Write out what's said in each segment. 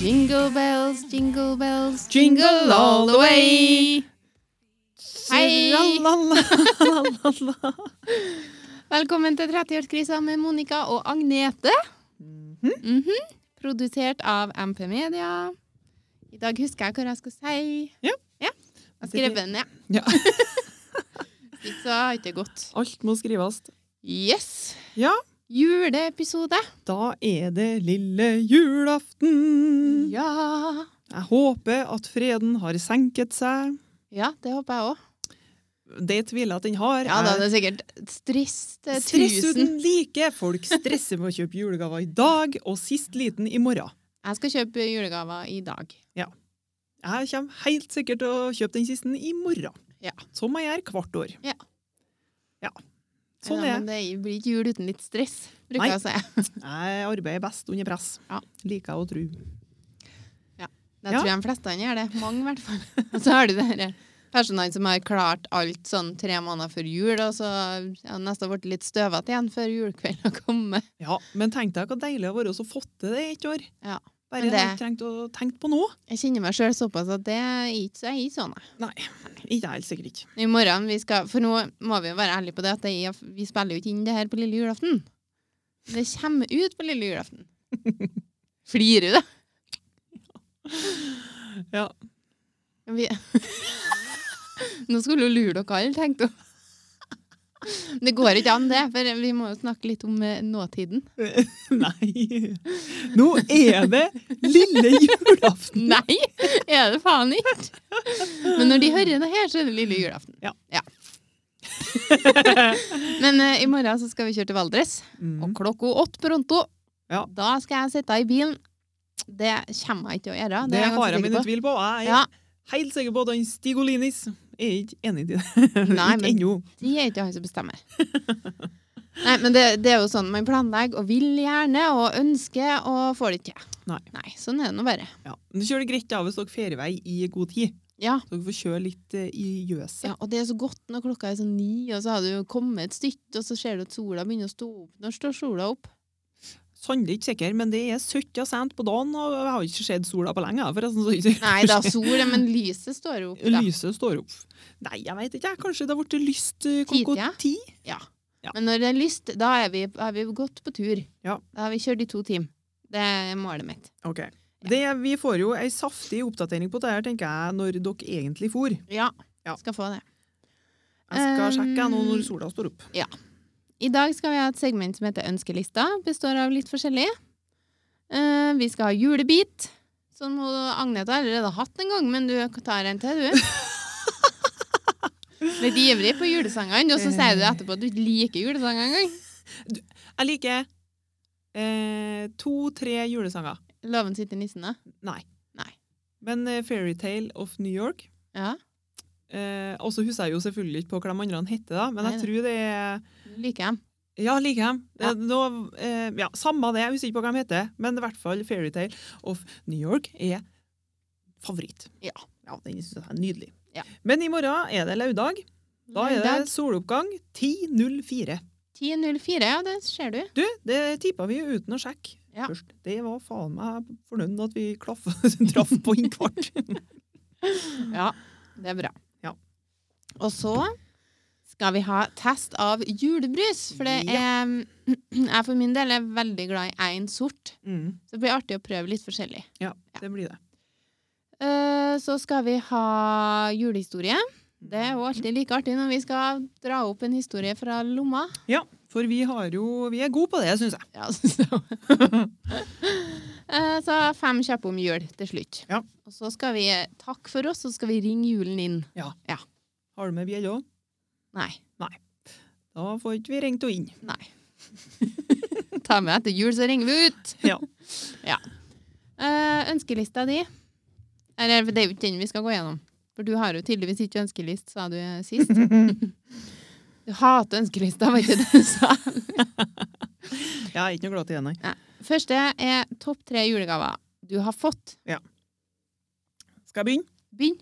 Jingle bells, jingle bells, jingle all the way. Hei. Tralalalala. Velkommen til 30-årskrisa med Monica og Agnete. Mhm. Produsert av MP Media. I dag husker jeg hva jeg skal si. Ja. Jeg skrev den ned. Ja. Ikke så har ikke gått. Alt må skrives. Yes! Ja. Juleepisode. Da er det lille julaften. Ja. Jeg håper at freden har senket seg. Ja, det håper jeg òg. Det tviler jeg at den har. Ja, da er det sikkert stress til Jeg- Stress 1000. uten like! Folk stresser med å kjøpe julegaver i dag og sist liten i morgen. Jeg skal kjøpe julegaver i dag. Jeg kommer helt sikkert til å kjøpe den siste i morgen. Ja. Som jeg gjør hvert år. Ja. Ja. Sånn Ja, er det. Men det blir ikke jul uten litt stress, bruker Nei. jeg å si. Jeg arbeider best under press. Ja. Liker jeg å tro. Jeg Ja. tror de fleste gjør det. Mange, i hvert fall. Og så har du de der personene som har klart alt sånn tre måneder før jul, og så har nesten blitt litt støvete igjen før julekvelden har kommet. Ja, men tenk deg hva deilig det har vært å fått til det i ett år. Ja, Bare men det... det- jeg trengte å tenke på nå. Jeg kjenner meg sjøl såpass at det er ikke så jeg er sånn. jeg. Nei, ikke jeg helt sikkert ikke. I morgen vi skal For nå må vi jo være ærlige på det at det er, vi spiller jo ikke inn det her på lille julaften. Det kommer ut på lille julaften. Flirer du, da? Ja. Vi... Nå skulle hun lure dere alle, tenkte hun. Det går ikke an, det, for vi må jo snakke litt om eh, nåtiden. Nei. Nå er det lille julaften. Nei, er det faen ikke! Men når de hører det her, så er det lille julaften. Ja. Men eh, i morgen så skal vi kjøre til Valdres, og Mm. klokka åtte pronto. Ja. Da skal jeg sitte i bilen. Det kommer jeg ikke til å gjøre. Det er jeg har jeg ganske mine sikker på. tvil på. Jeg er Ja, helt sikker på at han Stig Olinis er ikke enig i det. Nei, ikke men- ennå. Det er ikke han som bestemmer. Nei, men det, det er jo sånn man planlegger og vil gjerne og ønsker og får det til. Nei. sånn er det nå bare. Ja. Men det kjører greit da hvis dere ferdig vei i god tid. Ja, Så dere får kjøre litt eh, i gjøset. ja, og det er så godt når klokka er sånn ni, og så har du jo kommet et stykke, og så ser du at sola begynner å stå opp. Når står sola opp? Sannelig ikke sikker, men Sånn, det er søtt og sent på dagen, og jeg har ikke sett sola på lenge. forresten. så ikke- Nei, det er sol, men lyset står jo opp da. Lyset står opp. Nei, jeg vet ikke. jeg. Kanskje det har blitt lyst eh, klokka Tidlig, ti? Ja. Ja. Men når det er lyst, da er vi, er vi gått på tur. Ja. Da har vi kjørt i to timer. Det er målet mitt. Ok. Det, vi får jo ei saftig oppdatering på det her, tenker jeg, når dere egentlig for. Ja, Ja. skal få det. Jeg skal Um, sjekke jeg nå når sola står opp. I dag skal vi ha et segment som heter Ønskelista. Består av litt forskjellig. Eh, vi skal ha julebit, som hun- Agnete har allerede hatt en gang, men du tar en til, du. Litt ivrig på julesangene, og så sier du etterpå at du ikke liker julesanger engang. Jeg liker eh, to-tre julesanger. Loven sitter i nissen, da. Nei. Nei. Men eh, 'Fairytale of New York' Ja, eh, Og så husker jeg jo selvfølgelig ikke på hva de andre heter, da, men Nei, jeg da. tror det er liker jeg. Ja, liker dem. Ja. Eh, nå, eh, ja, samme det, jeg husker ikke på hva de heter, men i hvert fall 'Fairytale of New York' er favoritt. Ja. Ja, den synes jeg er nydelig. Ja. Men i morgen er det lørdag. Da er det soloppgang 10.04. 10.04, ja, det ser du. Du, det tippa vi jo uten å sjekke Ja. først. Det var faen meg fornøyd med at vi klaff, traff på en kvart. Ja, det er bra. Ja. Og så skal vi ha test av julebrus, for det er Jeg for min del er veldig glad i én sort. Mm, Så det blir artig å prøve litt forskjellig. det blir det. Eh, Så skal vi ha julehistorie. Det er Mm. jo alltid like artig når vi skal dra opp en historie fra lomma. Ja, for vi har jo Vi er gode på det, syns jeg. Ja, så. Eh, så fem kjappe om jul til slutt. Ja. Og så skal vi takke for oss, og så skal vi ringe julen inn. Har du med bjelle òg? Nei. Da får ikke vi ringt henne inn. Nei. Ta med etter jul, så ringer vi ut. Ja. Eh, ønskelista di Eller det er jo ikke den vi skal gå gjennom. For du har jo tydeligvis ikke ønskelist, sa du eh, sist. Du hater ønskelista, var ikke det du sa? Jeg er ikke noe glad til det, nei. Første er topp tre julegaver du har fått. Skal jeg begynne? Begynn.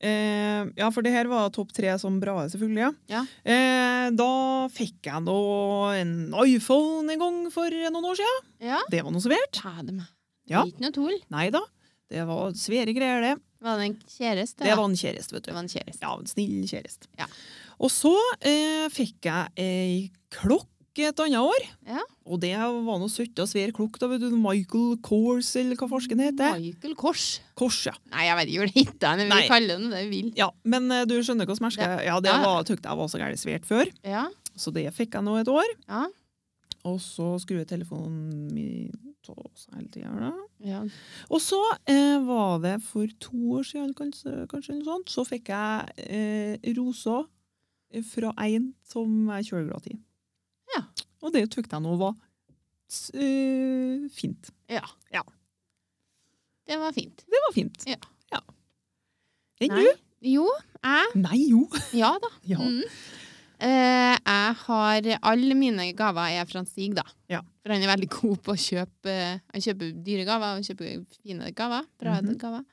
Eh, ja, for det her var topp tre som Brahe, selvfølgelig. Ja. Ja. Eh, da fikk jeg nå en iPhone en gang for noen år siden. Ja. Det var noe så verdt. Ta det med. Ja. Ikke noe tull. Nei da, det var svære greier, det. Var det en kjæreste? Det da? var en kjæreste, vet det du. var en kjæreste. Ja, en snill kjæreste. Ja. Og så eh, fikk jeg ei klokk et annet år. Ja. Og det var noe søtt og svær klokk, da, vet du. Michael Kors, eller hva forskeren heter. Michael Kors. Kors, ja. Nei, jeg vet ikke hvor det hitta henne. Vi Nei. kaller henne det vi vil. ja. Men eh, du skjønner hva som er skal- Ja, det Ja. var, tykte jeg var så gærent svært før. Ja, Så det fikk jeg nå et år. ja. Og så skrur jeg telefonen min på seg hele tida, da. ja. Og så eh, var det for to år siden, kanskje, kanskje eller sånt, så fikk jeg eh, rosa fra en som jeg kjører glad i. Ja. Og det tykte jeg nå var s- eh, fint. ja. Ja. Det var fint. Det var fint. Ja. Enn Nei. du? Jo, jeg. Nei, jo. Ja da. Ja. Mm. Eh, jeg har Alle mine gaver er fra Stig, da. Ja. For han er veldig god på å kjøpe eh, Han kjøper dyre gaver og kjøper fine gaver. Bra Mhm. gaver.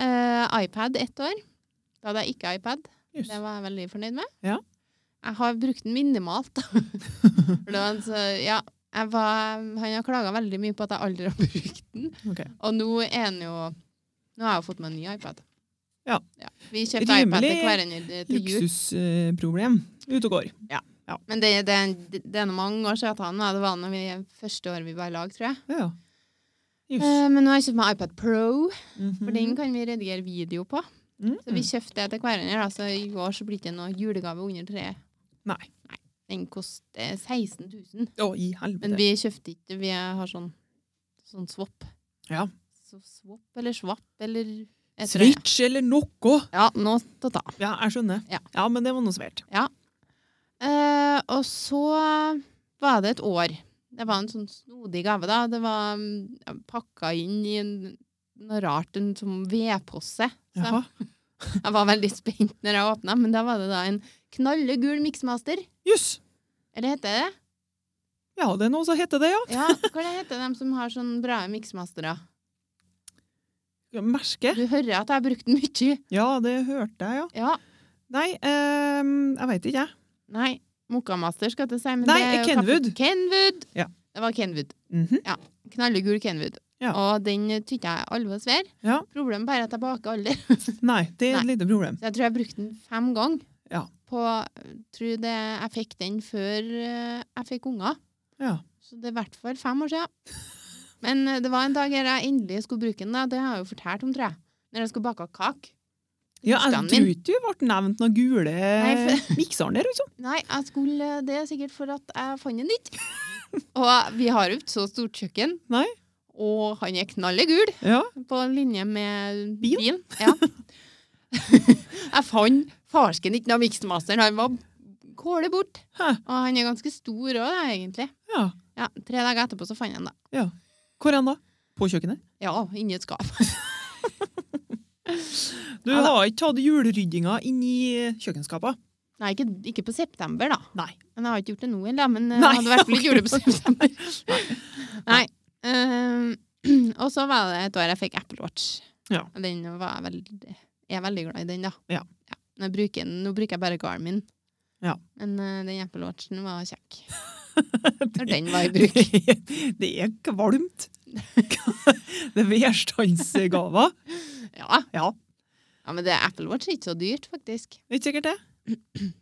Eh, iPad ett år. Da hadde jeg ikke iPad. Jøss. Det var jeg veldig fornøyd med. Ja. Jeg har brukt den minimalt. da. For det var en så- ja, jeg var, han har klaga veldig mye på at jeg aldri har brukt den. Ok. Og nå er han jo Nå har jeg jo fått meg en ny iPad. Ja. Vi kjøpte iPad Rimelig til hverandre til jul. Luksusproblem ute og går. Men det, det, det er noe mange år siden at han hadde var når vi, første året vi var i lag, tror jeg. Ja. Just. Eh, men nå har jeg kjøpt meg iPad Pro, Mhm. for den kan vi redigere video på. Mhm. Så vi kjøpte det til hverandre, da, så i år så blir det ikke noe julegave under treet. Nei. Den koster 16 000. Å, i Men helvete. vi kjøpte ikke, vi har sånn, sånn swap. Ja. Så swap eller swapp eller jeg tror det. Switch eller noe. Ja, nå til å ta. Ja, jeg skjønner. Ja. men det var noe svært. Eh, og så var det et år. Det var en sånn snodig gave, da. Det var mm, pakka inn i en, noe rart, en sånn vedposse. Så Jaha. jeg var veldig spent når jeg åpna, men da var det da en knalle gul miksmaster. Jøss. Eller heter det det? Ja, det er noe som heter det, ja. Ja, hva det heter de som har sånn bra miksmastere? Ja, Merke? Du hører at jeg har brukt den mye. Ja, det hørte jeg, ja. Ja. Nei, ehm, jeg veit ikke, jeg. Nei, Mokkamaster skal jeg til å si, men Nei, det er jo Kenwood. kaffe- Kenwood! Ja. Det var Kenwood. Mhm. knallegul Kenwood. Ja. Og den tykte jeg alvor svær. Ja. Problemet bare er at jeg baker aldri. Nei, det er et Nei. lite problem. Så jeg tror jeg brukte den fem ganger. Ja. På, tror det, jeg fikk den før eh, jeg fikk unger. Ja. Så det er i hvert fall fem år siden. Men eh, det var en dag her jeg endelig skulle bruke den. Da. Det har jeg jo fortalt om, tror jeg. Når jeg skulle bake kake. ja jeg Husker han tror min? ikke du ble nevnt noen gule Nei, mikseren der, liksom. Nei, jeg skulle, eh, det er sikkert for at jeg fant den ikke. Og vi har jo ikke så stort kjøkken. Nei. Og han er knallegul. Ja. på linje med Bil? bilen. Ja. jeg fant farsken ikke av miksmasteren. Han var kålet bort. Hæ. Og han er ganske stor òg, egentlig. ja. Ja, tre dager etterpå så fant jeg den, da. Hvor hen da? På kjøkkenet? Ja, inni et skap. Du Ja, da. har ikke hatt juleryddinga inni eh, kjøkkenskapet? Nei, ikke, ikke på september, da. Nei. Men jeg har ikke gjort det nå heller. Men eh, Nei, jeg hadde i hvert fall ikke gjort det på ok. september. Nei. Ehm, og så var det et år jeg fikk Apple Watch. Ja. Og Den var jeg veldig, jeg er veldig glad i den, da. Ja. Nå, bruker, jeg den- nå bruker jeg bare Garmin. Ja. Men eh, den Apple Watchen var kjekk. Når den var i bruk. det er kvalmt. det er vedstandsgaver. Ja. Ja. ja, men det Apple Watch er ikke så dyrt, faktisk. Ikke sikkert det.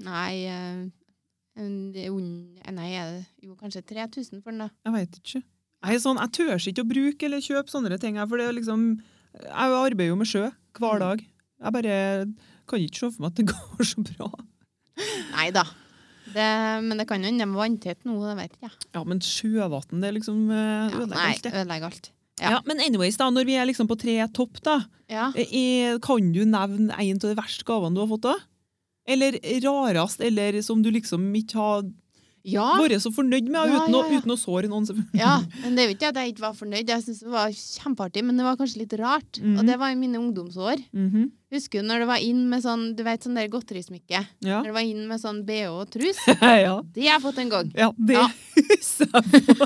Nei, eh, en- det er un- nei er det- jo kanskje 3000 for den, da. Jeg veit ikke. Jeg, er sånn, jeg tør ikke å bruke eller kjøpe sånne ting. her, for det er liksom, Jeg arbeider jo med sjø hver dag. Jeg bare kan ikke se for meg at det går så bra. Nei da. Det, men det kan jo hende de er vanntett nå, det vet ikke jeg. Ja, men sjøvann, det er liksom eh, Ja, ødelegger nei, alt, det. ødelegger alt. Ja. ja. men anyways, da, når vi er liksom på tre topp, da, Ja. eh, kan du nevne en av de verste gavene du har fått? da? Eller rarest, eller som du liksom ikke har ja. vært så fornøyd med, Ja, uten, ja, ja. Å, uten å såre noen. selvfølgelig. Ja, men det er jo ikke at jeg ikke var fornøyd. Jeg synes det var kjempeartig, men det var kanskje litt rart. Mhm. Og det var i mine ungdomsår. Mhm. Husker du når det var inn med sånn du vet, sånn der godterismykke? ja. Når det var inn med sånn BH og trus? ja. Det har jeg fått en gang. Ja, det Ja. husker jeg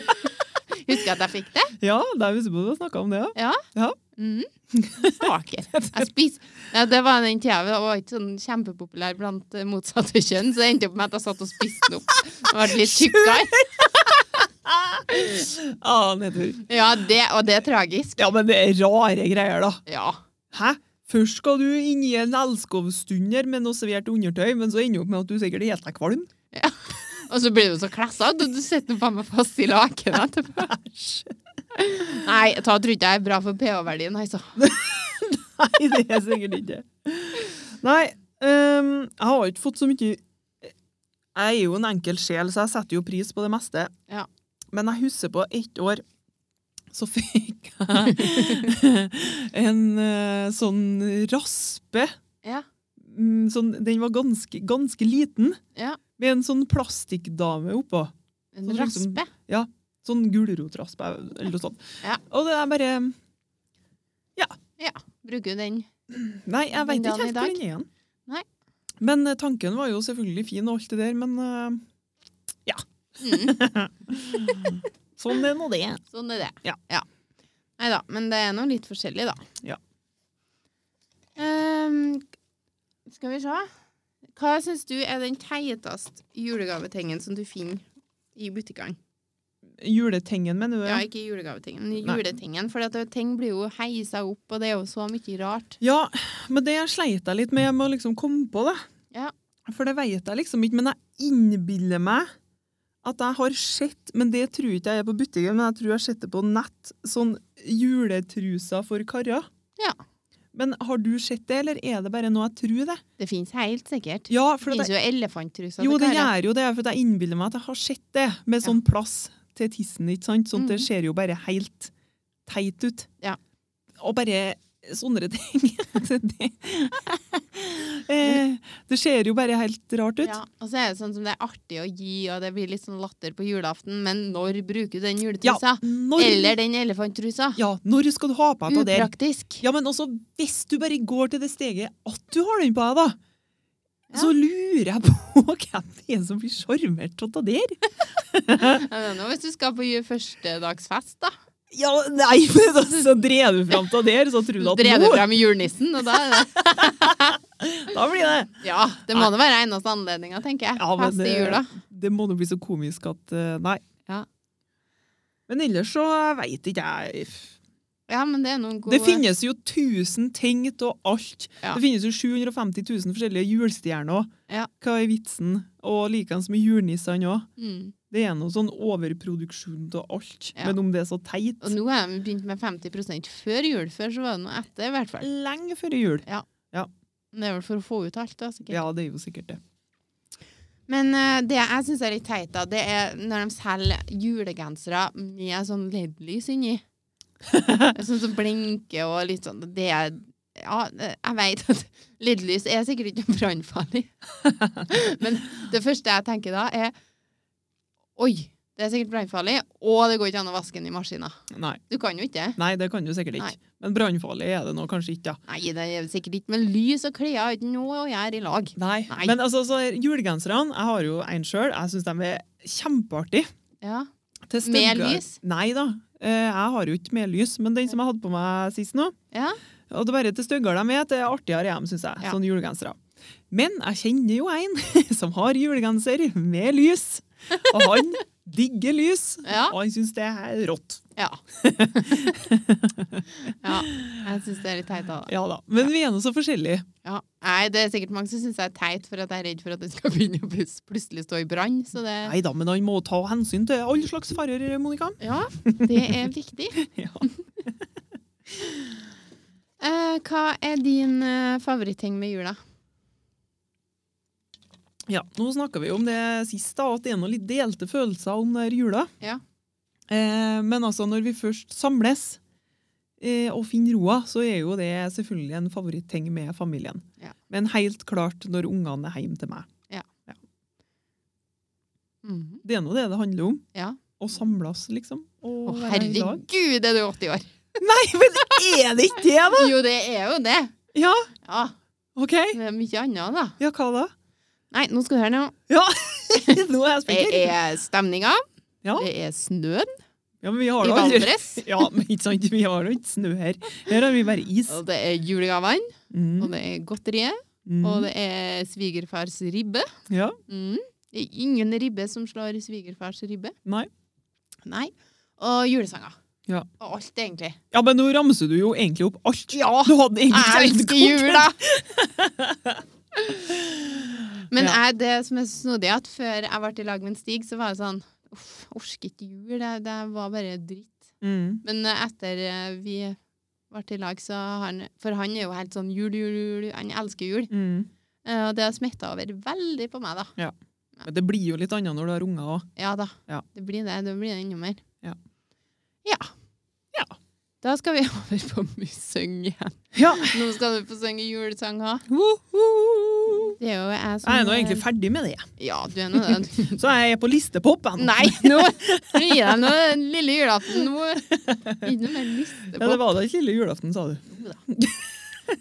Husker jeg at jeg fikk det? Ja, det er visst på å snakke om det, ja. Mhm. Staker. Jeg spis. Ja, det var den tida jeg var ikke sånn kjempepopulær blant eh, motsatte kjønn, så det endte opp med at jeg satt og spiste den opp. Jeg ble litt tjukkere. Ah, nedtur. Ja, det, og det er tragisk. Ja, men det er rare greier, da. Ja. Hæ? Først skal du inn i en elskovsstunder med noe servert undertøy, men så ender du opp med at du sikkert er helt deg kvalm. Og så blir du så klessete, og du sitter nå faen meg fast i lakenet etterpå. Nei, ta tror ikke jeg er bra for pH-verdien, altså. Nei, det er sikkert ikke. Nei, ehm, jeg har ikke fått så mye Jeg er jo en enkel sjel, så jeg setter jo pris på det meste. Ja. Men jeg husker på ett år så fikk jeg en eh, sånn raspe. Ja. Mm, Sånn, den var ganske, ganske liten, Ja. med en sånn plastikkdame oppå. En Sånn som- raspe. Sånn gulrotraspe eller noe sånt. Ja. Og det er bare Bruker du den? Nei, jeg Den veit ikke dagen i helt hvor dag? den er igjen. Nei. Men eh, tanken var jo selvfølgelig fin og alt det der, men eh, Mm, sånn er nå det. sånn er det. Ja. Nei da, men det er nå litt forskjellig, da. Ja. Ehm, skal vi se. Hva syns du er den teiteste julegavetingen som du finner i butikkene? Juletingen, mener du? Ja, ikke julegavetingen, men Nei. juletingen. For at ting blir jo heisa opp, og det er jo så mye rart. Ja, men det sleit jeg litt med med å liksom komme på det. Ja. For det veit jeg liksom ikke, men jeg innbiller meg at jeg har sett, men det tror jeg ikke jeg er på butikken, men jeg tror jeg har sett det på nett, sånn juletruser for karer. Ja. Men har du sett det, eller er det bare noe jeg tror det? Det fins helt sikkert. Ja, for Det at finnes jeg jo elefanttruser. til Jo, karer. det gjør jo det, for at jeg innbiller meg at jeg har sett det, med sånn plass til tissen, ikke sant? Sånn at det Mhm. ser jo bare helt teit ut. Ja. Og bare sånne ting. det, det, eh, det ser jo bare helt rart ut. Ja, og så er det sånn som det er artig å gi, og det blir litt sånn latter på julaften, men når bruker du den juletrusa? når, Eller den elefanttrusa? ja, når skal du ha på deg det der? Upraktisk. Ja, men også hvis du bare går til det steget at du har den på deg, da. Ja. Så lurer jeg på hvem det er som blir sjarmert av det der. Jeg vet ikke, Hvis du skal på ju- førstedagsfest, da. Ja, nei, men altså, drev du fram av det der, så tror du at Drev du nå frem julenissen, og da er det Da blir det Ja, det må da være eneste anledninga, tenker jeg. Ja, men Fest i det- jula. Det må nå bli så komisk at eh, Nei. Ja. Men ellers så veit ikke jeg. Ja, men det er noen gode Det finnes jo 1000 ting av alt. Ja. Det finnes jo 750 000 forskjellige julestjerner. Ja. Hva er vitsen? Og likeens med julenissene òg. Mm. Det er noe sånn overproduksjon av alt. Ja. Men om det er så teit Og nå har de begynt med 50 før jul. Før så var det noe etter, i hvert fall. Lenge før jul. Men det er vel for å få ut alt, da, sikkert. Ja, det er jo sikkert det. Men eh, det jeg syns er litt teit, da, det er når de selger julegensere med sånn LED-lys inni. sånn som blinker og litt sånn. Det er Ja, det- jeg vet at LED-lys er sikkert ikke brannfarlig. Men det første jeg tenker da, er Oi, det er sikkert brannfarlig, og det går ikke an å vaske den i maskina. Nei, Du kan jo ikke det. nei det kan du sikkert ikke. Nei. Men brannfarlig er det nå kanskje ikke. da. Nei, det er sikkert ikke, men lys og klær har ikke noe å gjøre i lag. Nei. Nei. Men altså, så er julegenserne Jeg har jo en sjøl. Jeg syns de er kjempeartige. Ja. Til Med stygge- lys? Nei da. Eh, Jeg har jo ikke med lys, men den som jeg hadde på meg sist nå Ja. Og det er bare til styggere de er, til artigere er de, syns jeg. Ja. Sånne julegensere. Men jeg kjenner jo en som har julegenser med lys. Og han digger lys. Ja. Og han syns det er rått. Ja. ja. Jeg syns det er litt teit, da. Ja da. Men vi er nå så forskjellige. Ja. Nei, det er sikkert mange som syns jeg er teit for at jeg er redd for at den skal begynne å pus- plutselig stå i brann. Så det Nei da, men han må ta hensyn til alle slags farer, Monica. Ja, det er viktig. Ja. Eh, hva er din eh, favoritting med jula? Ja, nå snakka vi jo om det sist, da, at det er noen litt delte følelser om den her jula. Ja. Eh, men altså, når vi først samles eh, og finner roa, så er jo det selvfølgelig en favorittting med familien. Ja. Men helt klart når ungene er hjemme til meg. Mhm. Det er nå det det handler om. Ja. Å samles, liksom. Å, Og være i lag. herregud, er du 80 år? Nei, men er det ikke det, da?! Jo, det er jo det. Ja, Ja, OK. Det er mye annet, da. Ja, hva da? Nei, nå skal du høre nå. Ja, nå er jeg Det spiker. er stemninga. Ja. Det er snøen Ja, men vi har i da aldri Valdres. Ja, men ikke sant, vi har jo ikke snø her. Her har vi bare is. Og det er julegavene. Mm. Og det er godteriet. Mm. Og det er svigerfars ribbe. Ja. Mm. Det er ingen ribbe som slår svigerfars ribbe. Nei. Nei. Og julesanger. Ja. Og alt, egentlig. Ja, men nå ramser du jo egentlig opp alt. Ja! Du hadde egentlig Jeg elsker tenkt jul, godt. da! Men Ja. jeg, det som er så snodig, er at før jeg ble i lag med en Stig, så var jeg sånn Uff, orker ikke jul. Det, det var bare dritt. Mm. Men eh, etter eh, vi ble i lag, så har han For han er jo helt sånn jul, jul, jul. Han elsker jul. Mm. Eh, Og det har smitta over veldig på meg, da. Men det blir jo litt annet når du har unger òg. Ja da. Ja. Det blir det. Det blir det enda mer. Ja. Ja. Ja. Da skal vi over på mussøng igjen. Ja. Nå skal du få synge julesanger. Det er jo jeg som Jeg er nå egentlig ferdig med det. Ja, du er nå det. Så jeg er på listepopen. Nei, nå nå gir jeg deg nå den lille julaften. Nå ikke noe mer liste Ja, det på. var da ikke lille julaften, sa du.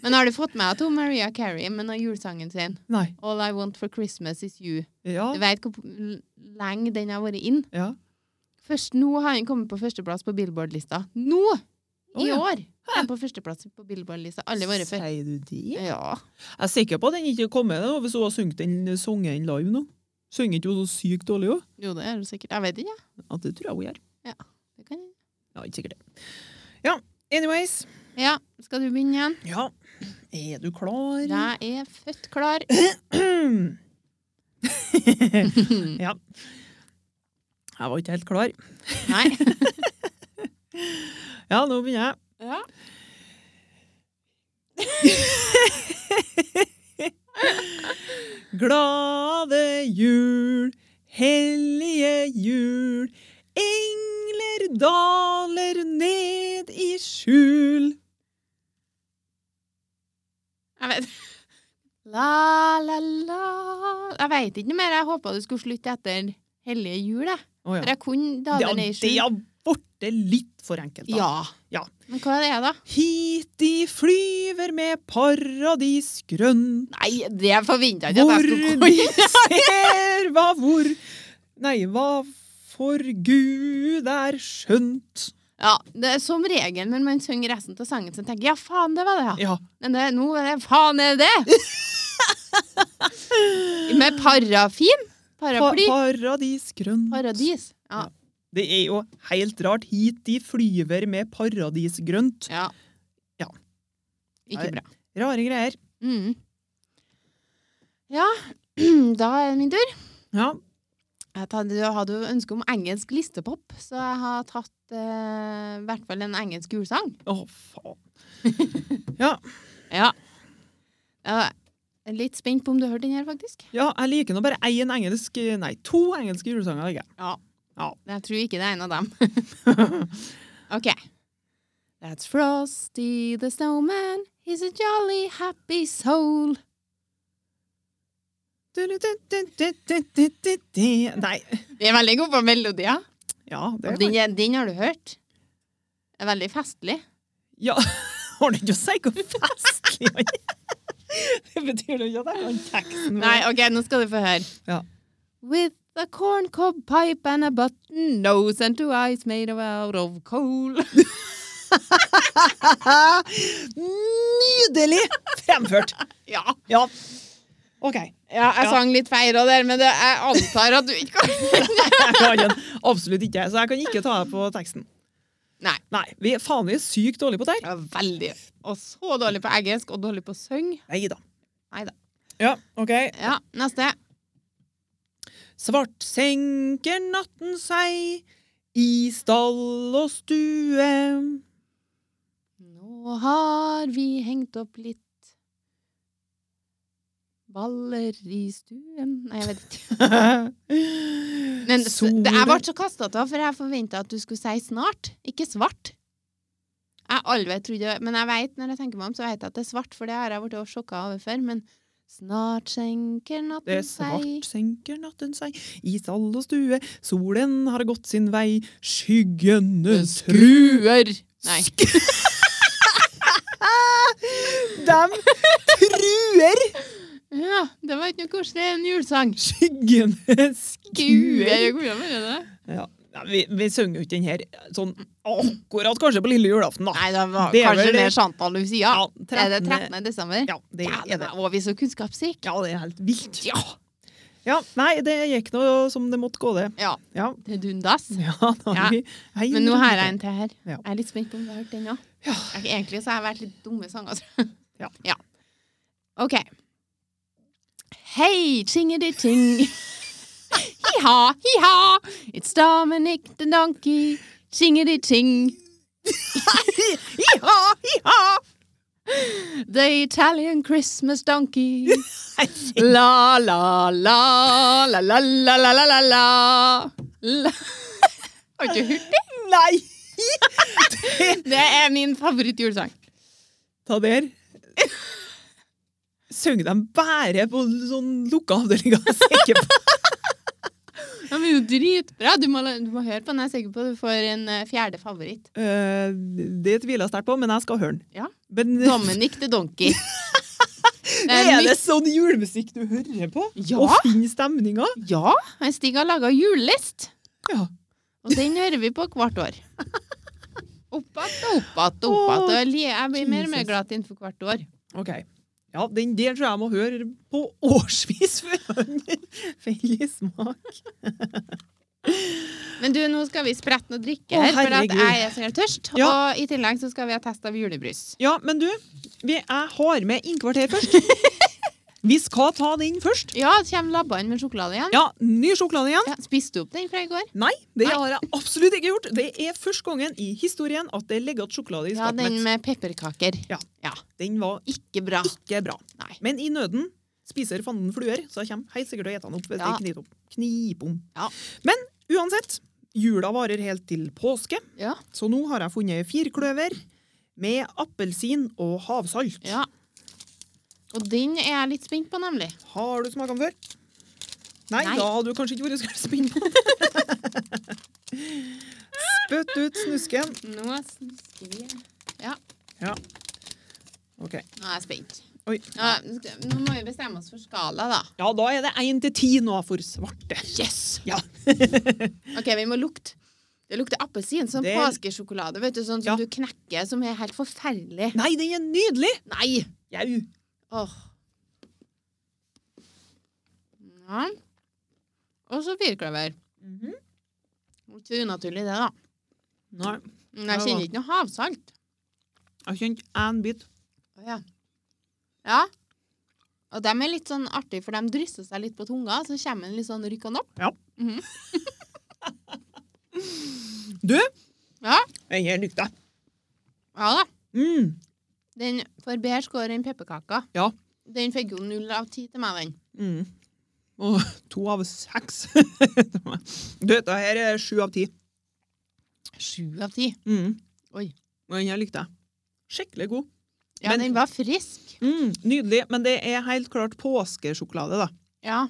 Men har du fått med at hun Maria Carey med den julesangen sin? Nei. All I Want For Christmas Is You. Ja. Du vet hvor l- lenge den har vært inn? ja. Først nå har han kommet på førsteplass på Billboard-lista. Nå! Å, I ja. år! er Han på førsteplass på Billboard-lista. Alle våre før. Sier du det? Ja. Jeg er sikker på at den ikke kommer nå, hvis hun har sunget den sangen live nå. Synger ikke hun så sykt dårlig òg? Jo, det er du sikkert. Jeg vet ikke, jeg. Ja, det tror jeg hun gjør. Det kan jeg. Ja, ikke sikkert det. Ja, anyways. Ja, skal du begynne igjen? Ja, er du klar? Jeg er født klar. ja. Jeg var ikke helt klar. Nei. Ja, nå begynner jeg. Ja. Glade jul, hellige jul, engler daler ned i skjul. Jeg vet La, la, la Jeg veit ikke noe mer. Jeg håpa du skulle slutte etter Hellige jul, jeg. Å For ja. jeg kunne Det Daler har- ned i det skjul. har blitt litt for enkelt. da. Ja. Ja. Men hva er det, da? Hit de flyver med paradis grønn. Nei, det forventa jeg ikke Hvor at jeg skulle de ser hva hvor Nei, hva for Gud er skjønt. Ja, det er Som regel når man synger resten av sangen, så tenker jeg ja, faen, det var det, ja. Ja. Men det, nå er det faen er det! Med parafin? Pa Paraply? paradis grønt. Paradis? Ja. Det er jo helt rart. Hit de flyver med paradis grønt. ja. Ja. Ikke bra. Rare greier. Mm. Ja, da er det min tur. Ja. Jeg hadde, jeg hadde jo ønske om engelsk listepop, så jeg har tatt eh, i hvert fall en engelsk julesang. Å, faen. Ja. Jeg er litt spent på om du hørte den her, faktisk. Ja, jeg liker nå bare én engelsk Nei, to engelske julesanger liker jeg. Jeg tror ikke det er en av dem. ok. That's Frosty the Snowman. He's a jolly happy soul. Du-du-du-du-du-du-du-du. Nei. Vi er veldig gode på melodier. Ja, det Og er Den, den har du hørt. Det er veldig festlig. Ja, har du ikke å si hvor festlig han er? Det betyr jo ikke at jeg kan teksten. Nei, ok, nå skal du få høre. Ja. Mm. With a corncob pipe and a button nose and two eyes made out of coal. Nydelig fremført! ja. Ja. OK. ja, jeg Ja. sang litt feil og der, men det, jeg antar at du ikke kan Jeg kan den absolutt ikke, så jeg kan ikke ta deg på teksten. Nei. Nei, Vi er faen vi er sykt dårlige på det her. Jeg var veldig Og så dårlig på engelsk og dårlig på å synge. Nei da. Neida. Ja, OK. Ja, neste. Svart senker natten seg i stall og stue. Nå har vi hengt opp litt baller i stuen Nei, jeg vet ikke. Men s- det, jeg ble så kasta av, for jeg forventa at du skulle si snart, ikke svart. Jeg alve trodde, Men jeg vet, når jeg tenker meg om, så vet jeg at det er svart, for det har jeg blitt sjokka over før. Men snart senker Det natten er svart seg senker natten seg i stall og stue. Solen har gått sin vei, skyggene skru. Nei. Dem truer! Ja, det var ikke noe koselig. En julesang. Skyggene Skuer. skuer. Hvordan mener du det? Ja. Nei, vi, vi synger jo ikke den her sånn akkurat kanskje på lille julaften, da. Nei, det var Det er kanskje vel- mer Chantal Lucia. Ja, Er det 13. 13. desember? Ja, det er det. var vi så kunnskapsrike. Ja, det er helt vilt. Ja. Ja, nei, det gikk nå som det måtte gå, det. Ja. Ja, Det er dundas. ja da Ja. har vi hei, Men nå har jeg en til her. Ja. Jeg er litt spent på om du har hørt den òg. Ja. Egentlig så har jeg vært litt dumme sanger. tror jeg. Ja. ja. OK. Hei, tingedi-ting. Hi-ha, hi-ha. It's Dominic the donkey. Tingedi-ting. hi-ha, hi-ha. The Italian Christmas donkey. La, la, la, la, la, la, la, la, la, la. La- Har du ikke hørt det? Nei! Det er min favorittjulesang. Ta der. Søng de bare på sånn lukka avdelinger? Jeg er sikker på. Ja, men det er jo dritbra. Du må, du må høre på den. Jeg er sikker på du får en eh, fjerde favoritt. Eh, det tviler jeg sterkt på, men jeg skal høre den. Ja. Men Dominic the Donkey. Eh, Det er, mitt- det sånn julemusikk du hører på? Ja. Og finner stemninga? Ja, han Stig har laga julelist. Ja. Og den hører vi på hvert år. Opp att og opp att og opp att. Og jeg li- Jeg blir mer og mer Jesus. glad til den for hvert år. Ok. Ja, den der tror jeg jeg må høre på årsvis før han feller i smak. Men du, nå skal vi sprette noe drikke Å, her, for at herregud. jeg er så helt tørst. Ja. Og i tillegg så skal vi ha test av julebrus. Ja, men du, vi, jeg har med innkvarter først. Vi skal ta den først. Ja, det kommer labbene med sjokolade igjen. Ja, ny sjokolade igjen. Ja, spiste du opp den fra i går? Nei, det Nei. har jeg absolutt ikke gjort. Det er første gangen i historien at det er legget sjokolade i Ja, skapet den mitt. med pepperkaker. Ja. ja. Den var Ikke bra. ikke bra. Nei. Men i nøden spiser fanden fluer, så jeg kommer helt sikkert til å ete den opp hvis Ja. jeg kniper opp. Knip om. Ja. Men uansett, jula varer helt til påske, Ja. så nå har jeg funnet firkløver med appelsin og havsalt. ja. Og den er jeg litt spent på, nemlig. Har du smakt den før? Nei, Nei. da hadde du kanskje ikke vært så spinn på den. Spytt ut snusken. Nå snakker vi. Ja, nå Ok. er jeg spent. Oi. Ja, skal- nå må vi bestemme oss for skala, da. Ja, da er det 1 til 10 nå for svarte. Yes! Ja. OK, vi må lukte. Det lukter appelsin. Sånn Det- påskesjokolade vet du, sånn som Ja. du knekker, som er helt forferdelig. Nei, den er nydelig! Nei! Jau. Åh. Ja. Og så firkløver. Mhm. Ikke unaturlig, det, da. Nei, Men jeg Ja, kjenner da. ikke noe havsalt. jeg kjente en bit. Ja. ja. Og de er litt sånn artige, for de drysser seg litt på tunga, så kommer en litt sånn rykk og napp. Du, Ja. den her lykta. Ja da. Mm. Den får bedre score enn pepperkaka. Ja. Den fikk jo null av ti til meg, den. Mm. Og to av seks. du, dette her er sju av ti. Sju av ti. Mm. Oi. Og den her likte jeg. Skikkelig god. Ja, Men- den var frisk. Mm, nydelig, men det er helt klart påskesjokolade, da. Ja.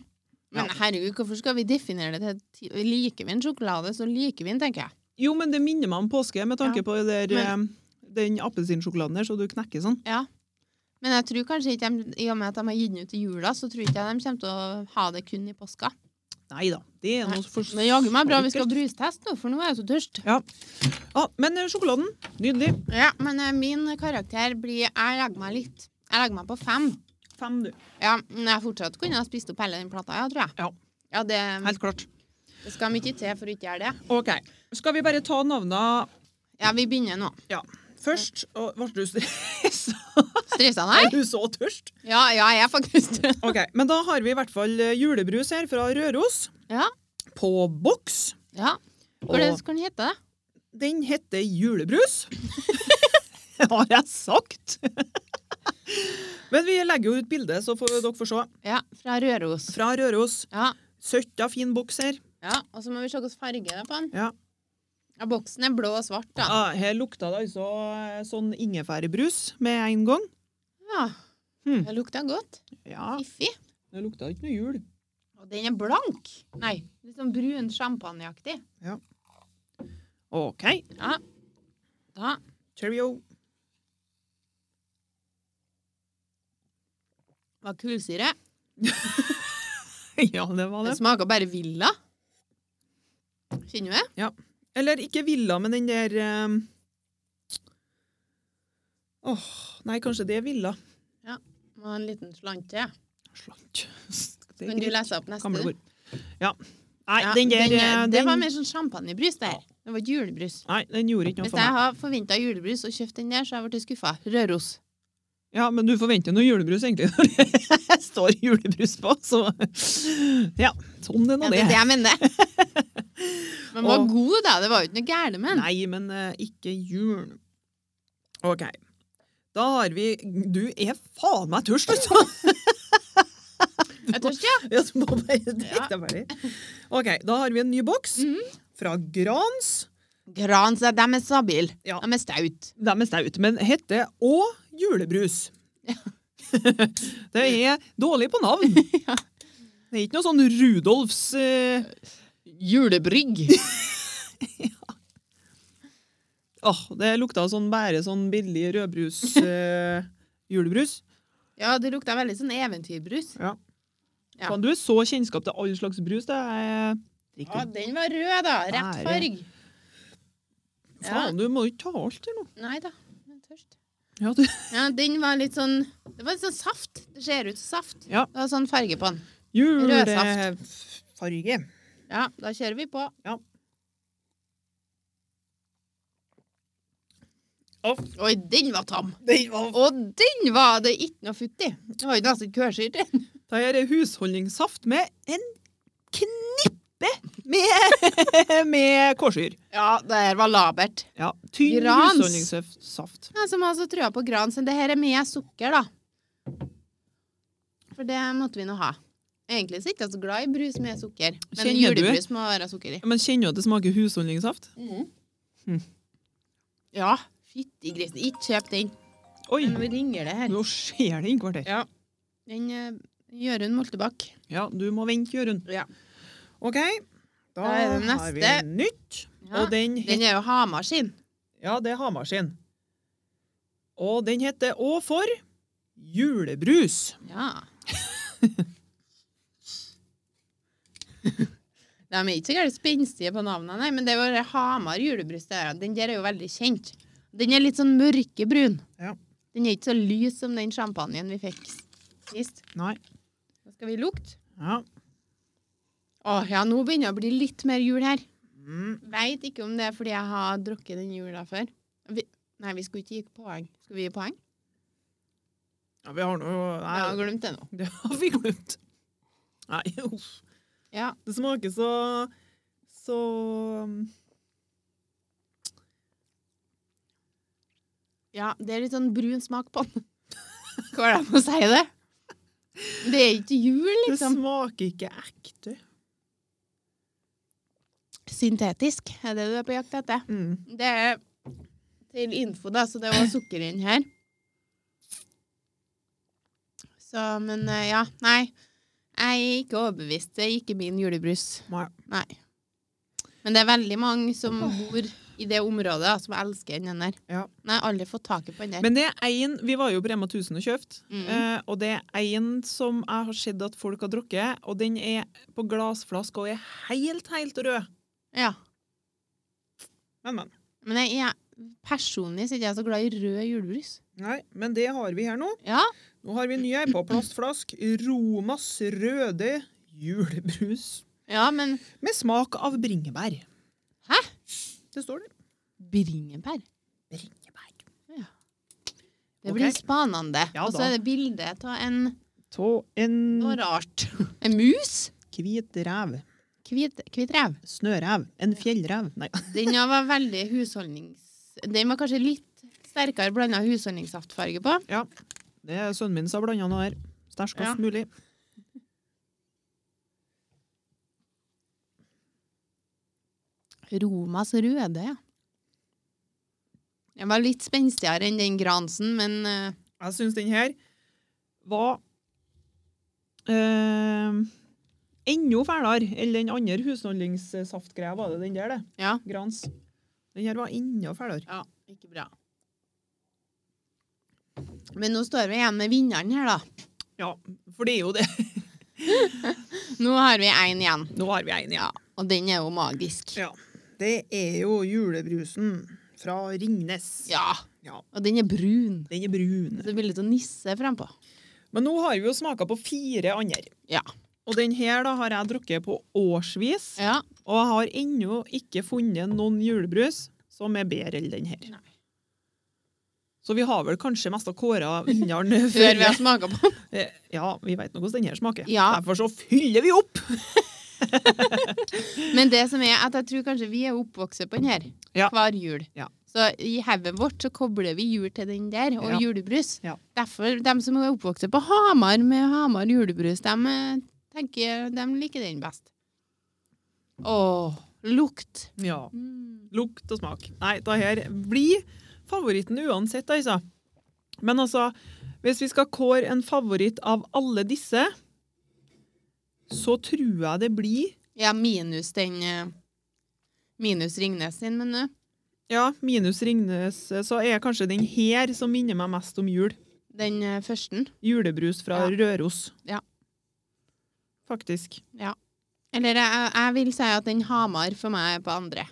Men Ja. herregud, hvorfor skal vi definere det til ti? Liker vi en sjokolade, så liker vi den, tenker jeg. Jo, men det minner meg om påske, med tanke Ja, på det der, men- eh, den appelsinsjokoladen der, så du knekker sånn. Men jeg tror kanskje ikke de, i og med at de har gitt den ut i jula, så tror ikke jeg de kommer til å ha det kun i påska. Nei da. Det er Nei. noe for Men jaggu meg bra vi skal brusteste nå, for nå er jeg så tørst. Ja, men eh, sjokoladen, nydelig. Ja, men eh, min karakter blir Jeg legger meg litt. Jeg legger meg på fem. Fem, du. Ja, men jeg fortsatt kunne ha spist opp hele den plata, ja, tror jeg. Ja. Ja, det, Helt klart. det skal mye til for å ikke gjøre det. OK. Skal vi bare ta navnene Ja, vi begynner nå. først? Og ble du stressa? Stressa deg? Er du så tørst? Ja, ja, jeg er faktisk det. Ok, Men da har vi i hvert fall eh, julebrus her fra Røros. Ja. På boks. Ja. Hva Og er det skal den hete? da? den heter julebrus. har jeg sagt? men vi legger jo ut bilde, så får dere få se. Ja, Fra Røros. Fra Røros. Ja, Søtta, fin boks her. ja. Og så må vi se hvilken farge det er på den. Ja. Ja, Boksen er blå og svart, da. Ah, her lukta det altså eh, sånn ingefærbrus med en gang. Ja. Hmm. Det lukter godt. Ja, Fiffig. det lukta ikke noe jul. Og den er blank. Nei, litt sånn brun champagneaktig. OK. Ja. Da. Cheerio. Var kullsyre. ja, det Det var det. smaker bare Villa. Kjenner du det? Eller ikke Villa, men den der eh, Åh, nei, kanskje det er Villa. Må ha en liten slant til. Slant. Det er Kan du greit. lese opp neste? Gamle ord. Ja. Nei, Ja, den der den er- eh, det den- var mer sånn champagnebrus der. Det var ikke julebrus. Nei, den gjorde ikke noe Hvis for jeg meg. har forventa julebrus og kjøpt den der, så har jeg blitt skuffa. Røros. Ja, men du forventer noe julebrus, egentlig, når det står julebrus på, så Ja. Sånn det Ja, nå det det. er det jeg mener. Men den var Og- god, da. Det var jo ikke noe gærent med den. Nei, men eh, ikke jul. OK. Da har vi Du er faen meg tørst, altså! Jeg tør ikke, ja. Ja, Mhm. du må bare drikke deg ferdig. OK, da har vi en ny boks fra Grans. Grans, ja, de er stabile. Ja. De er staute. De er staut, men heter òg julebrus. det er dårlig på navn. Det er ikke noe sånn Rudolfs eh, Julebrygg. Åh, det lukta sånn bare sånn billig rødbrus eh, julebrus. Ja, det lukta veldig sånn eventyrbrus. Ja. Faen, Du er så kjennskap til all slags brus. Det er Ja, den var rød, da. Rett Ære. farg. Ja. Faen, du må jo ikke ta alt her nå. Nei da. Jeg er tørst. Ja, du. Ja, den var litt sånn Det var litt sånn saft. Det ser ut som saft. Ja. Det var sånn farge på den. eh, Julefarge. Ja, da kjører vi på. Ja. Oi, den var tam! Det var- Og den var det ikke noe futt i. Det var jo nesten ikke kørsyrt i. Det her er husholdningssaft med en knippe med, med kårsyr. Ja, det her var labert. Ja, tynn Grans. husholdningssaft. Jeg som har så trua på gran, så det her er med sukker, da. For det måtte vi nå ha. Egentlig så er jeg ikke så glad i brus med sukker. Men Kjenner du- julebrus må være sukker i. Men kjenner du at det smaker husholdningssaft? Mm. Ja, fytti grisen. Ikke kjøp den. Oi, Men nå ringer det her. nå skjer det innkvart her. Ja. Den eh, Jørund Moltebakk. Ja, du må vente, Jørund. Ja. OK, da, Da er det har vi neste. nytt. Ja. Og den, het- Den er jo Hamar sin. ja, det er Hamar sin. Og den heter Å for julebrus. Ja. De er ikke så gærent spenstige på navnene, nei, men det var det Hamar julebrus. det er. Den der er jo veldig kjent. Den er litt sånn mørkebrun. Ja. Den er ikke så lys som den champagnen vi fikk sist. Nei. Da skal vi lukte. Ja. Åh, ja, nå begynner det å bli litt mer jul her. Mm. Veit ikke om det er fordi jeg har drukket den jula før. Vi, nei, vi skulle ikke gi poeng. Skulle vi gi poeng? ja, vi har nå Nei, jeg har Nei, glemt det nå. det har vi glemt. Nei, uff. Ja. Det smaker så Så Ja, det er litt sånn brun smak på den. Hva er det med å si det? Det er ikke jul, Det liksom. smaker ikke ekte. Syntetisk er det du er på jakt etter. Mm. Det er til info, da, så det var sukker inn her. Så, men eh, ja, nei. Jeg er ikke overbevist. Det er ikke min julebrus. Nei. Nei. Men det er veldig mange som bor i det området, da, som elsker den der. Ja. Men jeg har aldri fått tak i på den der. Men det er én Vi var jo på Rema 1000 og kjøpte. Mm. Eh, og det er én som jeg har sett at folk har drukket, og den er på glassflaske og er helt, helt rød. ja. Men, men. Men jeg, jeg, personlig så er ikke jeg så glad i rød julebrus. Nei, men det har vi her nå. Ja, Nå har vi en ny ei på plastflask. Romas røde julebrus ja men med smak av bringebær. Hæ? Det står det. bringebær Bringebær. Det Ok. blir spanende. Ja Og så da. er det bilde av en Ta noe en rart. En mus? hvit rev. Hvit hvit rev. Snørev. En fjellrev. Nei. Den her var veldig husholdnings... Den var kanskje litt sterkere blanda husholdningssaftfarge på. Det er sønnen min som har blanda noe her. Sterkest Ja. mulig. Romas røde, ja. Den var litt spenstigere enn den Gransen, men eh, Jeg syns den her var eh, enda fælere enn den andre husholdningssaftgreia. Var det den der, det? Ja. Grans. Den her var enda fælere. ja, ikke bra. Men nå står vi igjen med vinneren her, da. Ja, for det er jo det. Nå har vi én igjen, Nå har vi en, ja. og den er jo magisk. Ja. Det er jo julebrusen fra Ringnes. Ja. Ja. Og den er brun. Den er brun. Så det blir litt å nisse frempå. Men nå har vi jo smaka på fire andre. Ja. Og den her da har jeg drukket på årsvis, Ja. og jeg har ennå ikke funnet noen julebrus som er bedre enn den her. Så vi har vel kanskje mest av kåra vinneren Før vi før. har smaka på den. Eh, Ja, vi vet nå hvordan den her smaker. Ja. Derfor så fyller vi opp! Men det som er at jeg tror kanskje vi er oppvokst på den her Ja. hver jul. Ja. Så i hodet vårt så kobler vi jul til den der, og Ja. julebrus. Ja. Derfor, de som er oppvokst på Hamar med Hamar julebrus, de eh, tenker de liker den best. Åh, lukt. Ja. Mm. Lukt og smak. Nei, det her blir favoritten uansett, altså. Men altså, hvis vi skal kåre en favoritt av alle disse, så tror jeg det blir Ja, minus den eh, Minus Ringnes sin, men eh, Ja, minus Ringnes, så er kanskje den her som minner meg mest om jul. den eh, første. Julebrus fra Ja. Røros. Ja. Faktisk. Eller jeg, jeg vil si at den Hamar for meg er på andre.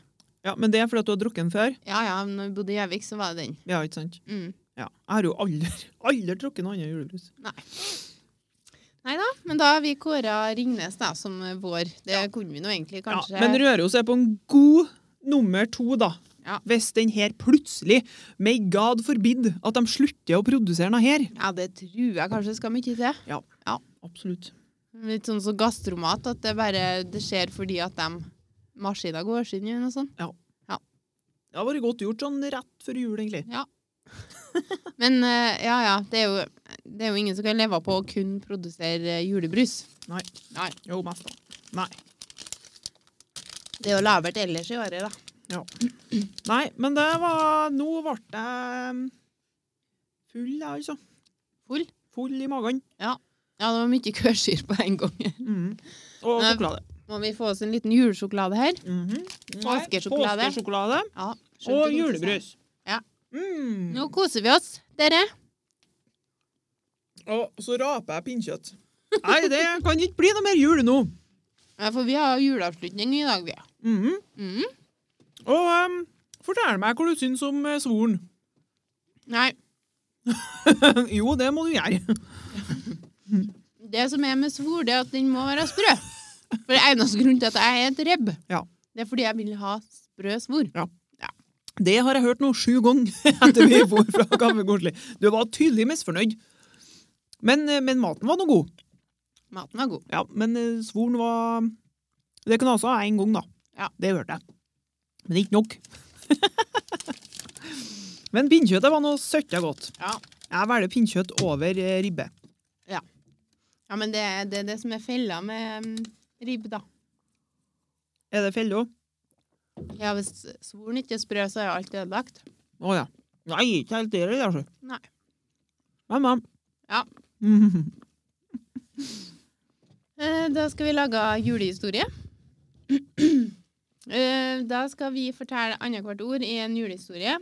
Ja, Men det er fordi at du har drukket den før? Ja ja, når vi bodde i Gjøvik, så var det den. Ja, ikke sant? Mm. Ja. Jeg har jo aldri, aldri drukket noen annen julebrus. Nei da, men da har vi kåra Ringnes da, som vår. Det kunne vi nå egentlig kanskje. Ja, men Røros er på en god nummer to, da. Ja. Hvis den her plutselig, may god forbid, at de slutter å produsere noe her. ja, det tror jeg kanskje skal mye til. Absolutt. Litt sånn som gastromat, at det bare det skjer fordi at de maskiner går sin eller noe sånt. Det har vært godt gjort sånn rett før jul, egentlig. Men eh, ja ja, det er, jo, det er jo ingen som kan leve på å kun produsere eh, julebrus. Jo, mest da. Nei. Det er jo labert ellers i året, da. Nei, men det var Nå ble jeg mm, full, jeg, altså. Full? Full i magen. Ja, det var mye kørsyr på en gang. Mm. Og Nei. sjokolade. Må vi få oss en liten julesjokolade her? Mhm. Påskesjokolade. Nei, Påskesjokolade Ja, skjønte du og ikke, julebrus. Ja. sa jeg. Mm. Nå koser vi oss, dere. Og så raper jeg pinnkjøtt. Nei, det kan ikke bli noe mer jul nå. Ja, for vi har juleavslutning i dag, vi. Mhm. Mm. Og ehm, fortell meg hva du syns om eh, svoren. Nei. jo, det må du gjøre. Det som er med svor, det er at den må være sprø. For det er eneste grunnen til at jeg er et rebb, Ja. det er fordi jeg vil ha sprø svor. Det har jeg hørt nå sju ganger etter vi for fra Kaffe Koselig. Du var tydelig misfornøyd. Men, eh, men maten var nå god. Maten var god. Ja, men eh, svoren var Det kunne altså ha én gang, da. Ja. Det hørte jeg. Men ikke nok. men pinnkjøttet var nå søtta godt. Ja. Jeg velger pinnkjøtt over eh, ribbe. Ja, men det er det, er det som er fella med um, ribbe, da. Er det felle òg? Ja, hvis svoren ikke er sprø, så er alt ødelagt. Å ja. Nei, ikke helt det, altså. Nei. Men, men. Ja. Mhm. Eh, Da skal vi lage julehistorie. Eh, Da skal vi fortelle annethvert ord i en julehistorie.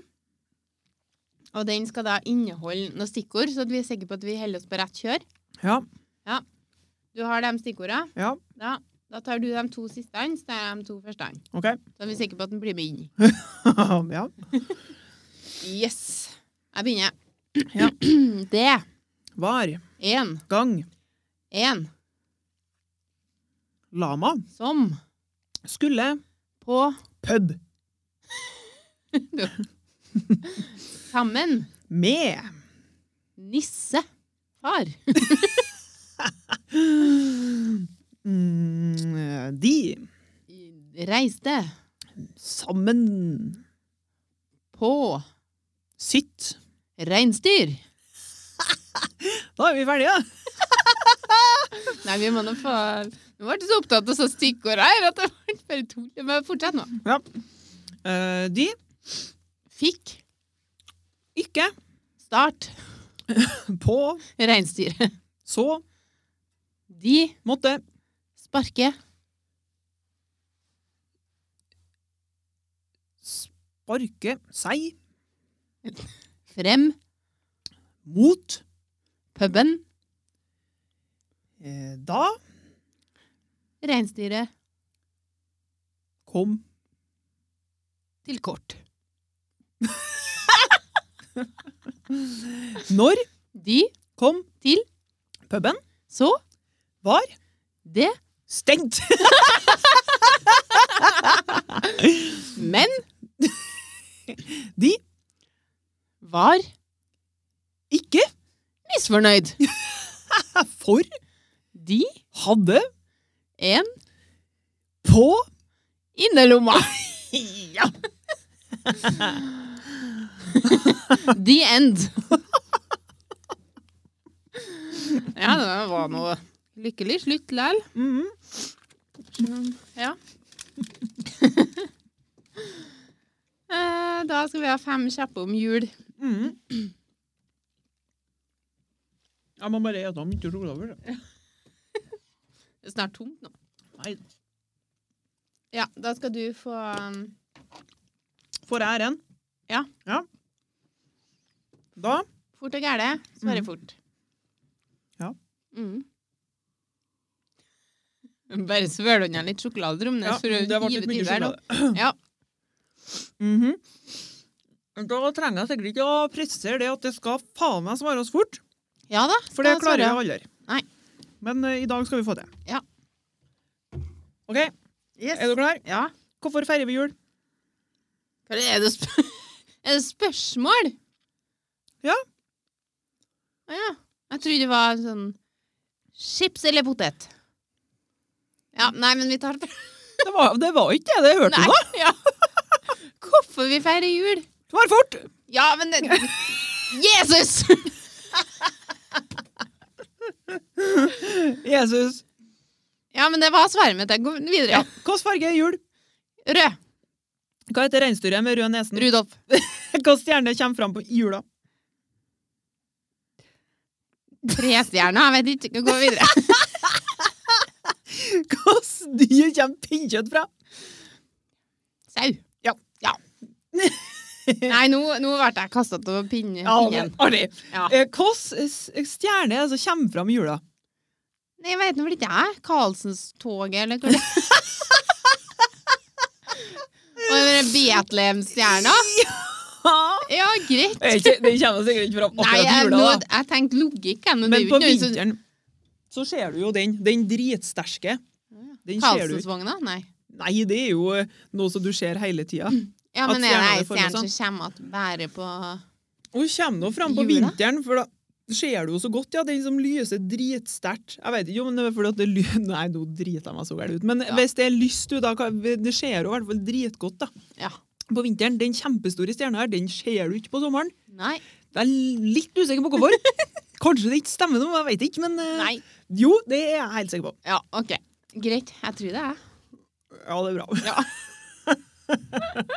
Og den skal da inneholde noen stikkord, så at vi er sikre på at vi holder oss på rett kjør. Ja. Du har de stikkordene. Ja, Ja, da tar du de to siste, så tar jeg de to første. ok. Så er vi sikre på at den blir med inn. ja. Yes! Jeg begynner. Ja. Det. Var, En. gang, En. lama, Som. skulle, På. pub, Sammen. med. Nisse. Far. Mm, de, Reiste. sammen, På. sitt. Reinsdyr. Da er vi ferdige. Nei, vi må nå få Nå ble jeg så opptatt av sånne stikkord her at det ble bare tull. Men fortsett nå. Eh, de, Fikk. ikke, Start. på, Reinsdyr. så, De. måtte, Sparke. sparke, seg, Frem. mot. Puben. Eh, da, Reinsdyret. kom. Til kort. Når, De. kom. Til. Puben, Så. var, Det. Stengt! Men De var ikke misfornøyd. for De hadde en på innerlomma. Ja! The end. Ja, det var noe lykkelig slutt likevel. Mhm. Mm, Ja. Eh, Da skal vi ha fem kjappe om jul. Mhm. Jeg må bare spise mye sjokolade. Det er snart tomt nå. Nei, Ja, da skal du få um, får jeg æren? Ja. ja. Da fort og gæle. Svare Mm. fort. Ja. Mm. Bare svøl unna litt sjokolade, Romnes, Ja, for å det ble hive litt mye tidligere nå. sjokolade. Ja. Mhm. Da trenger jeg sikkert ikke å presisere det at det skal faen meg svares fort, Ja da. for det skal klarer svare. jeg aldri. Nei. Men eh, i dag skal vi få det. Ja. OK, Yes. er du klar? Ja. Hvorfor feirer vi jul? Hva Er det, sp er det spørsmål? Ja. Å ja. Jeg trodde det var sånn Chips eller potet? Ja, nei, men vi tar det fra Det var, det var ikke det, det hørte du Nei. nå. Ja. Hvorfor vi feirer jul? Svar fort! Ja, men det Jesus! Jesus. Ja, men det var svaret mitt. Jeg går videre. Ja. Hvilken farge er jul? Rød. Hva heter reinsdyret med rød nesen? Rudolf. Hvilken stjerne kommer fram på i jula? Trestjerna. Jeg vet ikke. Gå videre. Hvilket dyr kommer pinnkjøtt fra? Sau. Ja. ja. Nei, nå, nå ble jeg kasta av pinnen. pinnen. Artig. Ja. Eh, Hvilken s- stjerne er det som kommer fram i jula? Nei, jeg vet nå vel ikke jeg. Karlsenstoget, eller hva det er. Og den der Betlehemstjerna? Ja, greit. Det er ikke- det kommer sikkert ikke fram Nei, akkurat i jeg, jula. nå, da. jeg tenkte logikk, jeg, men det er Men jo på ikke noe som vinteren så ser du jo den. Den dritsterke. Den ser du ikke. Karlsensvogna? Nei. Nei, det er jo eh, noe som du ser hele tida. Ja, At men er det stjerna ei er formet stjerne som kommer at bærer på Hun kommer nå fram på Jula? vinteren, for da ser du jo så godt, ja. Den som lyser dritsterkt. Jeg vet ikke om det er fordi at det ly... Nei, nå driter jeg meg så vel ut. Men Ja. hvis det er lyst, du, da kan- Det ser jo i hvert fall dritgodt, da. Ja. På vinteren. Den kjempestore stjerna her, den ser du ikke på sommeren. Nei. Jeg er litt usikker på hvorfor. Kanskje det ikke stemmer noe, jeg vet ikke, men eh, Nei. Jo, det er jeg helt sikker på. Ja, OK. Greit. Jeg tror det, jeg. Ja, det er bra.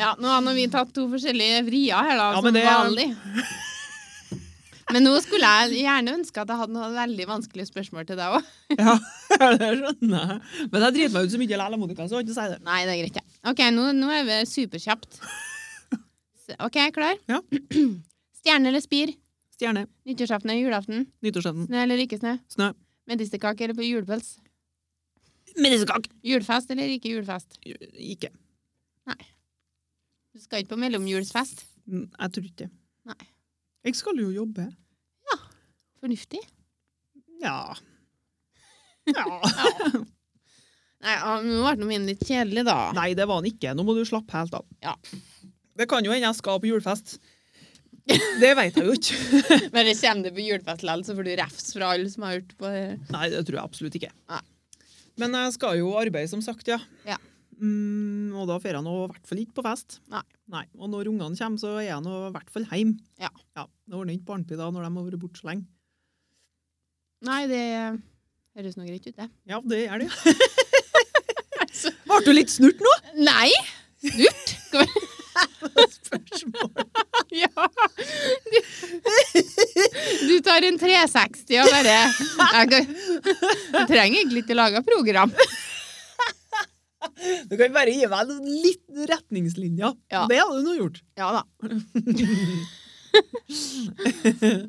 Ja, nå har nå vi tatt to forskjellige vrier her, da, Ja, som men det- vanlig. Men nå skulle jeg gjerne ønske at jeg hadde noen veldig vanskelige spørsmål til deg òg. Ja, det skjønner jeg. Men jeg driter meg ut så mye likevel, Monica, så jeg kan ikke si det. Nei, det er greit, ja. Ok, nå, nå er vi superkjapt. Så- Ok, er jeg klar? Ja. Stjerne eller spir? Stjerne, Nyttårsaften eller julaften? nyttårsaften, Snø eller ikke snø? snø, Medisterkake eller på julepøls? medisterkake. Julefest eller ikke julefest? Ikke. Du skal ikke på mellomjulsfest. Mm, Jeg tror ikke det. Nei. Jeg skal jo jobbe. Fornuftig. Ja. Ja. Nei, ja, nå ble nå min litt kjedelig, da. Nei, det var han ikke. Nå må du slappe helt av. Ja. Det kan jo hende jeg skal på julefest. Det vet jeg jo ikke. Men det kommer du på julefest likevel, så får du refs fra alle som har hørt på det. Nei, det tror jeg absolutt ikke. Nei. Men jeg skal jo arbeide, som sagt, ja. Ja. Mm, og da får jeg nå i hvert fall ikke på fest. Nei. Og når ungene kommer, så er jeg nå i hvert fall hjemme. Ja. det ordner ikke barnepid da når de har vært borte så lenge. Nei, det høres nå greit ut, det. Ja, det er det. Altså. Ble du litt snurt nå? Nei! Lurt! Skal vi- Spørsmål. Ja. Du, du tar en 360 og bare jeg, kan- Du trenger egentlig ikke lage program. Du kan bare gi meg noen litt retningslinjer. Ja. Det hadde du nå gjort. Ja da. Åh,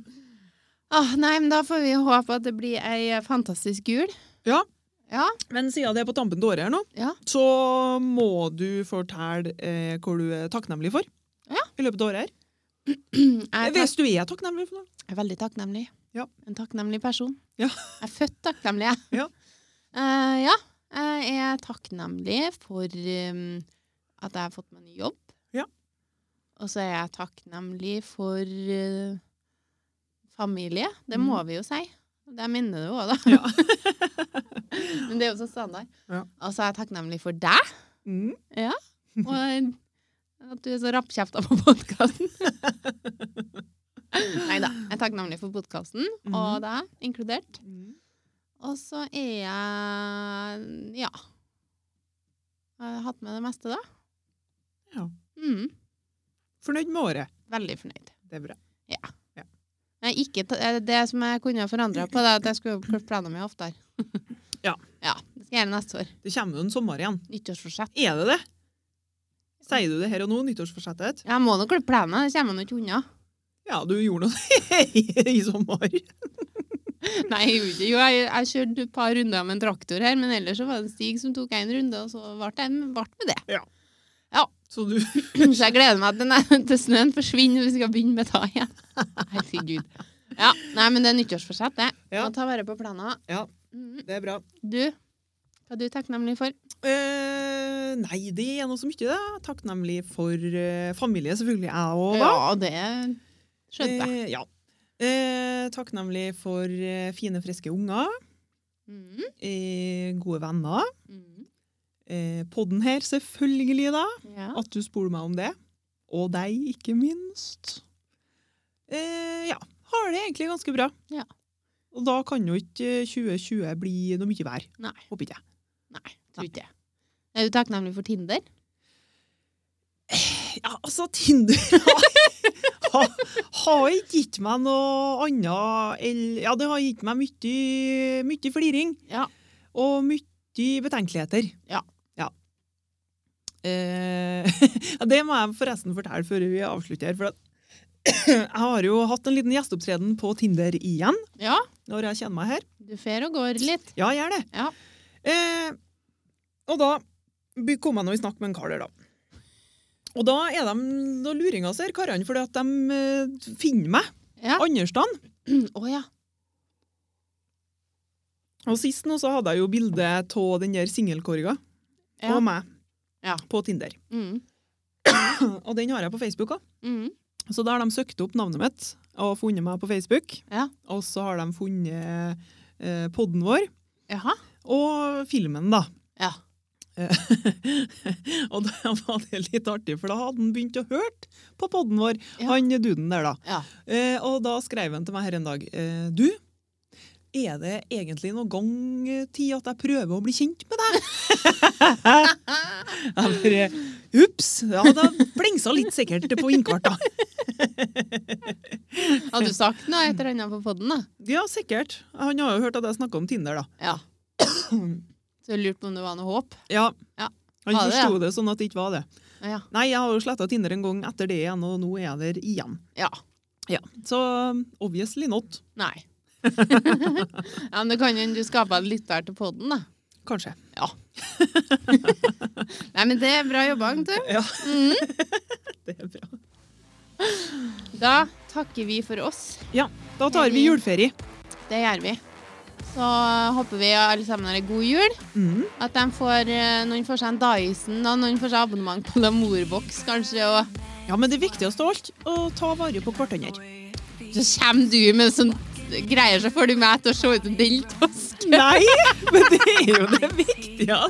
Ah, nei, men da får vi håpe at det blir ei fantastisk jul. Ja. Ja. Men siden det er på tampen til året her nå, Ja. så må du fortelle eh, hva du er takknemlig for Ja. i løpet av året her. Jeg er, tak Hvis du er takknemlig for noe. jeg er veldig takknemlig. Ja. En takknemlig person. Ja. Jeg er født takknemlig, jeg. Ja. Eh, ja. Jeg er takknemlig for um, at jeg har fått meg ny jobb. Ja. Og så er jeg takknemlig for eh, familie. Det må vi jo si. Det minner du òg, da. Mm. Ja. Men det er jo så standard. Ja. Og så er jeg takknemlig for deg, Mm. og at du er så rappkjefta på podkasten. Nei da. Jeg er takknemlig for podkasten og Mhm. deg inkludert. Mm. Og så er jeg ja. Jeg har hatt med det meste, da. Ja. Mm, Fornøyd med året. veldig fornøyd. Det er bra. Men ikke, ta- eh, det som jeg kunne ha forandra på, det er at jeg skulle klippe plenen min oftere. Ja. ja. Det skal jeg gjøre neste år. Det kommer jo en sommer igjen. Nyttårsforsett. Er det det? Sier du det her og nå, nyttårsforsettet? Jeg må nå klippe plenen, det kommer jeg nå ikke unna. Ja, du gjorde noe i sommer. Nei, jeg gjorde ikke Jo, jeg, jeg kjørte et par runder med en traktor her, men ellers så var det en Stig som tok en runde, og så ble det med det. Så du Så jeg gleder meg til, den- til snøen forsvinner, hvis vi skal begynne med det igjen. Herregud. Ja, nei, men det er nyttårsforsett, det. Ja. Må ta vare på planer. Ja. Mhm. Det er bra. Du, hva er du takknemlig for? Eh, nei, det er noe så mye, det. Takknemlig for eh, familie, selvfølgelig. Jeg òg, da. Ja, det skjønte jeg. Eh, ja. Eh, takknemlig for eh, fine, friske unger. Mhm. Eh, gode venner. Mhm. Eh, podden her, selvfølgelig, da. Ja. At du spurte meg om det. Og deg, ikke minst. Eh, ja. Har det egentlig ganske bra. Ja. Og da kan jo ikke eh, 2020 bli noe mye vær. Nei. Håper ikke jeg. Nei, tror ikke det. Er du takknemlig for Tinder? Ja, altså, Tinder har, har, har ikke gitt meg noe annet enn Ja, det har gitt meg mye, mye fliring. Ja. Og mye betenkeligheter. Ja. Ja. Eh, ja, det må jeg forresten fortelle før vi avslutter. For at jeg har jo hatt en liten gjesteopptreden på Tinder igjen. Ja. Når jeg kjenner meg her. Du fer og går litt. Ja, jeg gjør det. Ja. Eh, og da by- kom jeg nå i snakk med en kar der, da. Og da er de noen luringer, ser karene, fordi at de eh, finner meg Ja. Å andre steder. ja. Og sist nå så hadde jeg jo bilde av den der singelkorga ja. og meg Ja. på Tinder. Mhm. Og den har jeg på Facebook òg. Mhm. Så da har de søkt opp navnet mitt og funnet meg på Facebook. Ja. Og så har de funnet eh, podden vår Jaha. og filmen, da. Ja. og da var det litt artig, for da hadde han begynt å høre på podden vår, Ja. han duden der, da. Ja. Eh, og da skrev han til meg her en dag. Eh, du, er det egentlig noen gang eh, tid at jeg prøver å bli kjent med deg? jeg bare Ups! Ja, da blingsa litt sikkert på innkarta. Hadde du sagt noe et eller annet på podden, da? Ja, sikkert. Han har jo hørt at jeg snakka om Tinder, da. Ja. Så jeg lurte på om det var noe håp. Ja. Ja. Han Var det det? forsto det sånn at det ikke var det. Ja. Nei, jeg har jo sletta Tinder en gang etter det igjen, og nå er jeg der igjen. ja. Ja, så um, obviously not. Nei. ja, men det kan jo hende du skaper en lytter til podden, da. Kanskje. Nei, men det er bra jobba, Agnetu. Ja, det er bra. Da takker vi for oss. Ja, da tar vi juleferie. Det gjør vi. Så håper vi alle sammen har en god jul. Mm. At de får, eh, noen får seg en Dyson, og noen får seg abonnement på Lamorbox, kanskje. Og Ja, men det viktigste av alt, å ta vare på hverandre. så kommer du med sånn greier, så får du meg til å se ut som deltask. Nei, men det er jo det viktigste.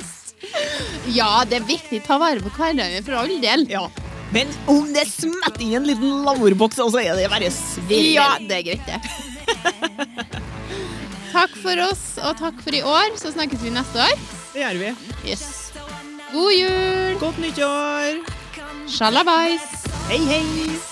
Ja, det er viktig. Ta vare på hverandre, for all del. Ja, men om det smetter i en liten lavorboks, så er det bare svirvel. Ja, det er greit, det. takk for oss, og takk for i år. Så snakkes vi neste år. det gjør vi. Yes. God jul! Godt nyttår. Sjalabais! Hei, hei.